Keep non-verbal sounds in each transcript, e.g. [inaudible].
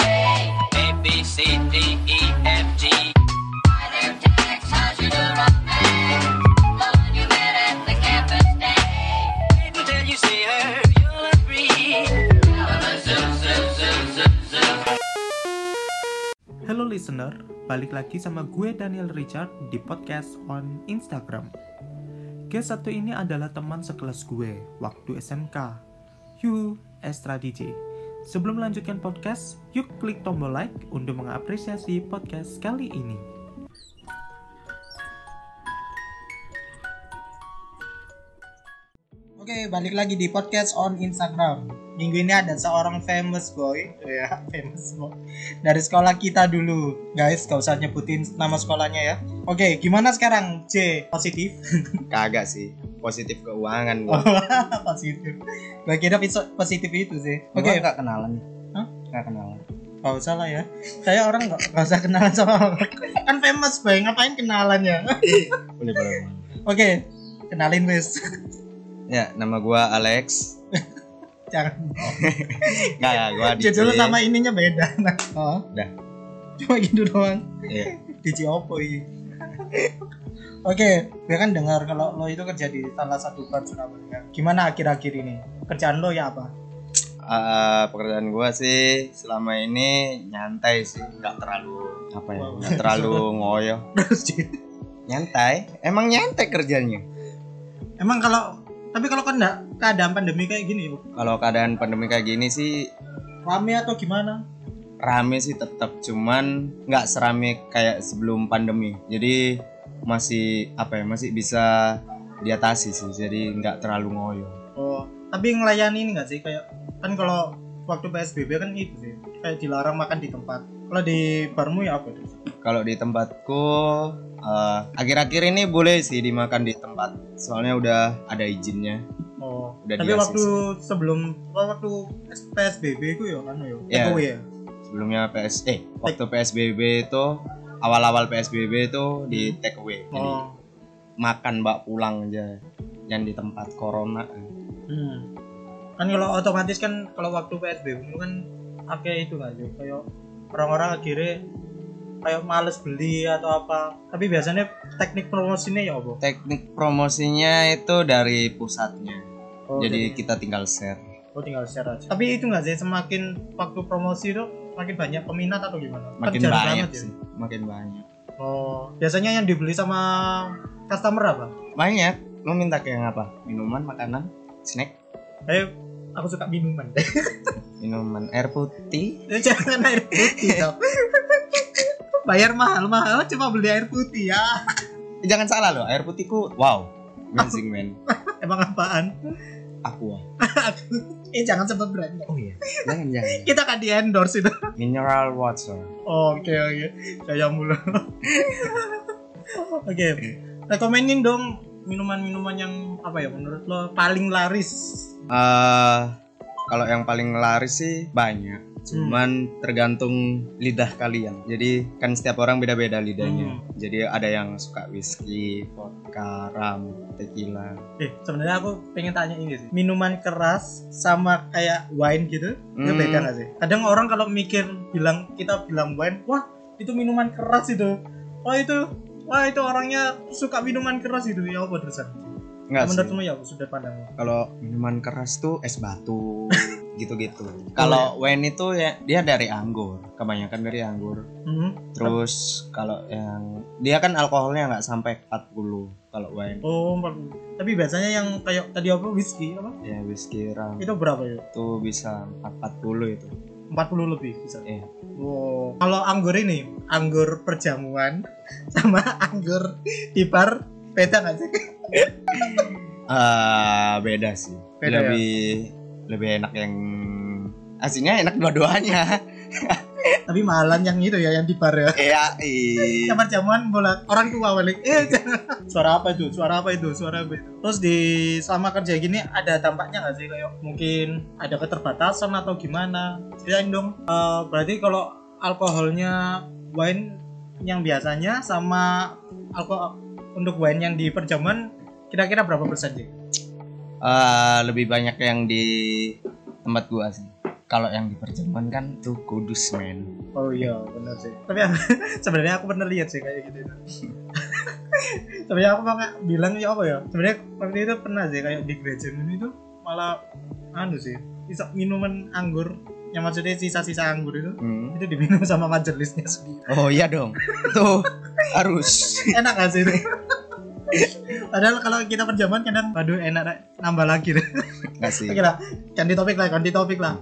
A B C D E F G. Wait until you see her, you'll agree. Hello listener, balik lagi sama gue Daniel Richard di podcast on Instagram. Guest satu ini adalah teman sekelas gue waktu SMK, Yu Estra DJ. Sebelum melanjutkan podcast, yuk klik tombol like untuk mengapresiasi podcast kali ini. Oke, balik lagi di podcast on Instagram. Minggu ini ada seorang famous boy, ya, famous boy dari sekolah kita dulu. Guys, gak usah nyebutin nama sekolahnya ya. Oke, gimana sekarang? C, positif. kagak sih positif keuangan gua. Oh. positif. Gue kira piso- positif itu sih. Gua Oke, nggak kenalan Hah? nggak kenalan gak usah lah ya. Saya orang gak, gak usah kenalan sama orang. Kan famous, Bay. Ngapain kenalan ya? boleh boleh boleh. Oke, kenalin, wes. ya nama gua Alex [laughs] Jangan. nggak gua DJ Iya. Judul sama ininya beda. Nah, oh. Dah. Cuma gitu doang. Iya. DJ Oppo ini. Oke, gue kan dengar kalau lo itu kerja di salah satu bar Surabaya. Gimana akhir-akhir ini? Kerjaan lo ya apa? Eh, pekerjaan gua sih selama ini nyantai sih nggak terlalu apa ya Wow. nggak terlalu ngoyo nyantai emang nyantai kerjanya Emang kalau tapi kalau kan enggak keadaan pandemi kayak gini yuk kalau keadaan pandemi kayak gini sih rame atau gimana? rame sih tetap cuman nggak serame kayak sebelum pandemi jadi masih apa ya masih bisa diatasi sih jadi nggak terlalu ngoyo Oh, tapi ngelayani ini enggak sih kayak kan kalau waktu PSBB kan itu sih kayak dilarang makan di tempat. Kalau di barmu ya apa tuh? kalau di tempatku eh, akhir-akhir ini boleh sih dimakan di tempat soalnya udah ada izinnya Oh, Udah tapi diasis. waktu sebelum oh, waktu PSBB itu ya kan ya. Iya. Takeaway ya. sebelumnya PS eh waktu PSBB itu awal-awal PSBB itu di take away jadi Oh. makan mbak pulang aja yang di tempat corona Hmm. Kan kalau otomatis kan kalau waktu PSBB itu kan akeh itu nggak sih? Kayak orang-orang akhirnya kayak males beli atau apa. Tapi biasanya teknik promosinya ya apa? teknik promosinya itu dari pusatnya Oh, jadi kita tinggal share oh, tinggal share aja. Tapi itu nggak sih semakin waktu promosi itu makin banyak peminat atau gimana? Kan makin jarang banyak banget ya. sih makin banyak Oh, biasanya yang dibeli sama customer apa? banyak lu minta kayak yang apa minuman makanan snack Eh, aku suka minuman. minuman air putih Ya, Jangan air putih dong. Bayar mahal-mahal cuma beli air putih ya. Eh, jangan salah loh air putihku wow amazing man Emang apaan? [laughs] aqua Eh jangan sebut brand. oh iya jangan [laughs] jangan Kita kan di endorse itu. mineral water Oke oke. Saya mulu. [laughs] Oke. Rekomenin dong minuman-minuman yang apa ya menurut lo paling laris. Eh, kalau yang paling laris sih banyak Hmm. cuman tergantung lidah kalian jadi kan setiap orang beda-beda lidahnya Hmm. jadi ada yang suka whisky vodka ram tequila Eh sebenarnya aku pengen tanya ini sih. Minuman keras sama kayak wine gitu, itu Hmm. beda gak sih? Kadang orang kalau mikir bilang kita bilang wine, wah itu minuman keras itu. Wah itu Wah itu orangnya suka minuman keras itu ya apa terusan? Nggak sih. Menurutmu ya sudut pandangmu? kalau minuman keras tuh es [laughs] batu Iya. gitu-gitu. Kalau wine itu ya dia dari anggur, kebanyakan dari anggur. Hmm. Terus kalau yang dia kan alkoholnya nggak sampai 40 kalau wine. Oh, 40. Tapi biasanya yang kayak tadi apa whisky apa? Ya whisky rum Itu berapa ya? itu bisa 40 itu. 40 lebih bisa. Iya. Wow. Kalau anggur ini, anggur perjamuan [laughs] sama anggur di bar beda nggak sih? Ah, beda sih. Beda ya? lebih lebih enak yang aslinya enak dua-duanya. [laughs] Tapi mahalan yang itu ya yang di bar ya. Iya, iya. Yang perjamuan bola orang tua balik. Eh, jangan. [laughs] suara apa itu? Suara apa itu? Suara apa itu? Terus di selama kerja gini ada dampaknya nggak sih kayak mungkin ada keterbatasan atau gimana? Ceritain dong. Eh, berarti kalau alkoholnya wine yang biasanya sama alkohol untuk wine yang di Jerman kira-kira berapa persen sih? Eh, lebih banyak yang di tempat gua sih kalau yang di Jerman kan tuh kudus men Oh iya benar sih. Tapi aku- [laughs] sebenarnya aku pernah lihat sih kayak gitu. [laughs] Tapi aku malah bilang ya apa ya? Sebenarnya waktu itu pernah sih kayak di gereja ini tuh malah anu sih iso- minuman anggur yang maksudnya sisa-sisa anggur itu Hmm. itu diminum sama majelisnya [laughs] sendiri. oh iya dong tuh harus Enak gak sih itu? Padahal kalau kita perjaman kadang waduh enak Rek. nambah lagi deh. nggak sih Oke lah, ganti topik lah, ganti topik lah.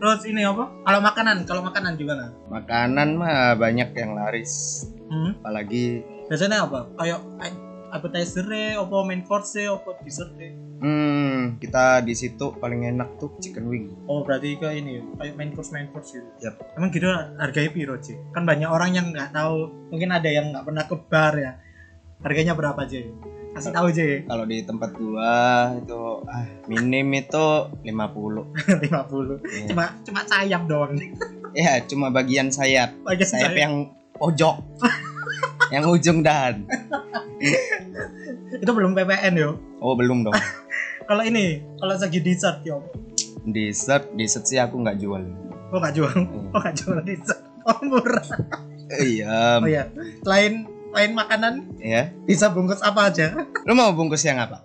Terus ini apa? Kalau makanan, kalau makanan juga lah. makanan mah banyak yang laris Hmm. apalagi biasanya apa kayak a- appetizer apa main course apa dessert hmm kita di situ paling enak tuh chicken wing oh berarti ke ini ya, kayak main course main course gitu Yap. emang gitu harganya piro sih kan banyak orang yang nggak tahu mungkin ada yang nggak pernah ke bar ya harganya berapa aja kasih tahu aja kalau di tempat gua itu ah, minim itu 50 [laughs] lima puluh Iya. cuma cuma sayap doang ya cuma bagian sayap bagian sayap ya. sayap yang pojok yang ujung dahan itu belum ppn yo oh belum dong kalau ini kalau segi dessert yo dessert dessert sih aku nggak jual oh nggak jual oh nggak jual dessert oh murah iya oh ya lain lain makanan ya bisa bungkus apa aja lu mau bungkus yang apa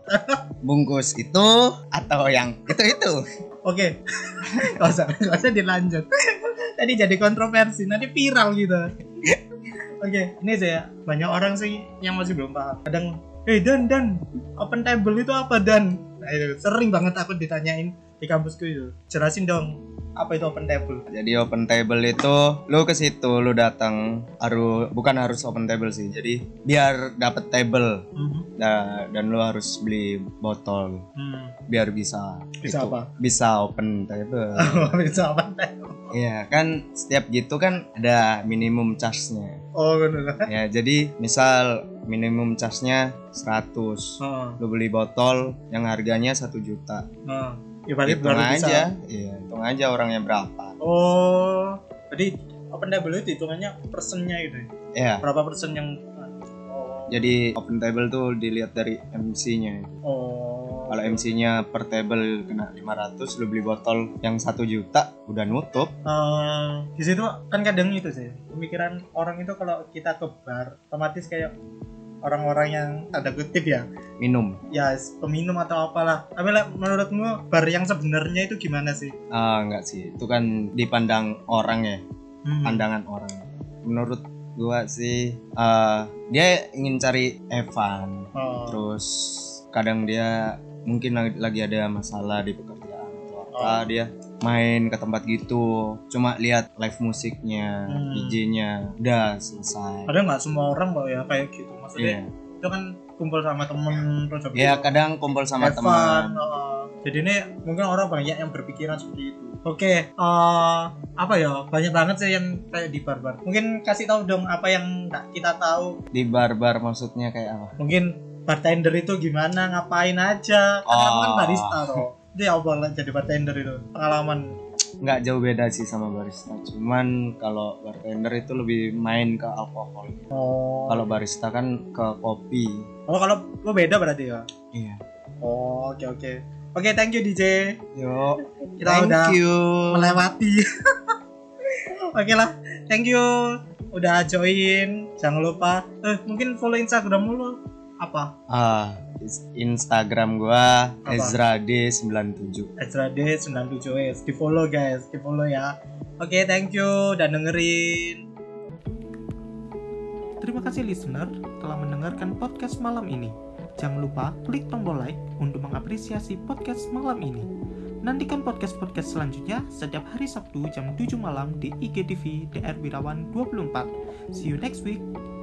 bungkus itu atau yang itu itu Oke, [laughs] gak usah, gak usah dilanjut. Tadi jadi kontroversi, nanti viral gitu. Oke, ini saya banyak orang sih yang masih belum paham. Kadang, eh Dan, Dan, open table itu apa Dan? Nah, itu sering banget aku ditanyain di kampusku itu. Jelasin dong, apa itu open table? jadi open table itu lu ke situ lu datang harus bukan harus open table sih jadi biar dapet table Nah, dan lu harus beli botol Hmm. biar bisa Bisa apa? [laughs] bisa open table Bisa open table. ya kan setiap gitu kan ada minimum charge nya Oh, benar. ya jadi misal minimum charge nya 100 Oh, lu beli botol yang harganya satu juta oh. Ya, berarti hitung baru bisa. aja iya hitung aja orangnya berapa Oh, jadi open table itu hitungannya persennya gitu ya? ya berapa persen yang jadi open table tuh dilihat dari MC nya oh kalau MC nya per table kena 500 lu beli botol yang satu juta udah nutup Eh, di situ kan kadang itu sih pemikiran orang itu kalau kita ke bar otomatis kayak orang-orang yang tanda kutip ya minum ya peminum atau apalah tapi lah, menurutmu bar yang sebenarnya itu gimana sih ah enggak sih itu kan dipandang orang ya Hmm. pandangan orang menurut gua sih eh, dia ingin cari Evan Oh, terus kadang dia mungkin lagi, lagi ada masalah di pekerjaan atau apa Oh. dia main ke tempat gitu cuma lihat live musiknya Hmm. DJ-nya udah selesai padahal nggak semua orang kok ya kayak gitu maksudnya Iya. itu kan kumpul sama temen terus habis ya itu- kadang kumpul sama Have fun, teman uh, jadi ini mungkin orang banyak yang berpikiran seperti itu. Oke, eh, apa ya banyak banget sih yang kayak di barbar. Mungkin kasih tahu dong apa yang nggak kita tahu. di barbar maksudnya kayak apa Mungkin bartender itu gimana, ngapain aja. Karena aku kan Oh. barista loh. Itu ya apa lah jadi bartender itu pengalaman. nggak jauh beda sih sama barista cuman kalau bartender itu lebih main ke alkohol Oh, kalau barista kan ke kopi oh kalau lo beda berarti ya. iya Oh, oke oke. Oke, thank you DJ. yuk Kita thank udah you melewati. [laughs] Oke lah, thank you udah join. Jangan lupa, eh mungkin follow Instagram lu apa? ah is- Instagram gua Apa? Ezra D97 Ezra D 97 s Di follow guys, di follow ya. Oke, thank you udah dengerin. Terima kasih listener telah mendengarkan podcast malam ini. Jangan lupa klik tombol like untuk mengapresiasi podcast malam ini. Nantikan podcast-podcast selanjutnya setiap hari Sabtu jam 7 malam di IGTV DR Wirawan 24. See you next week.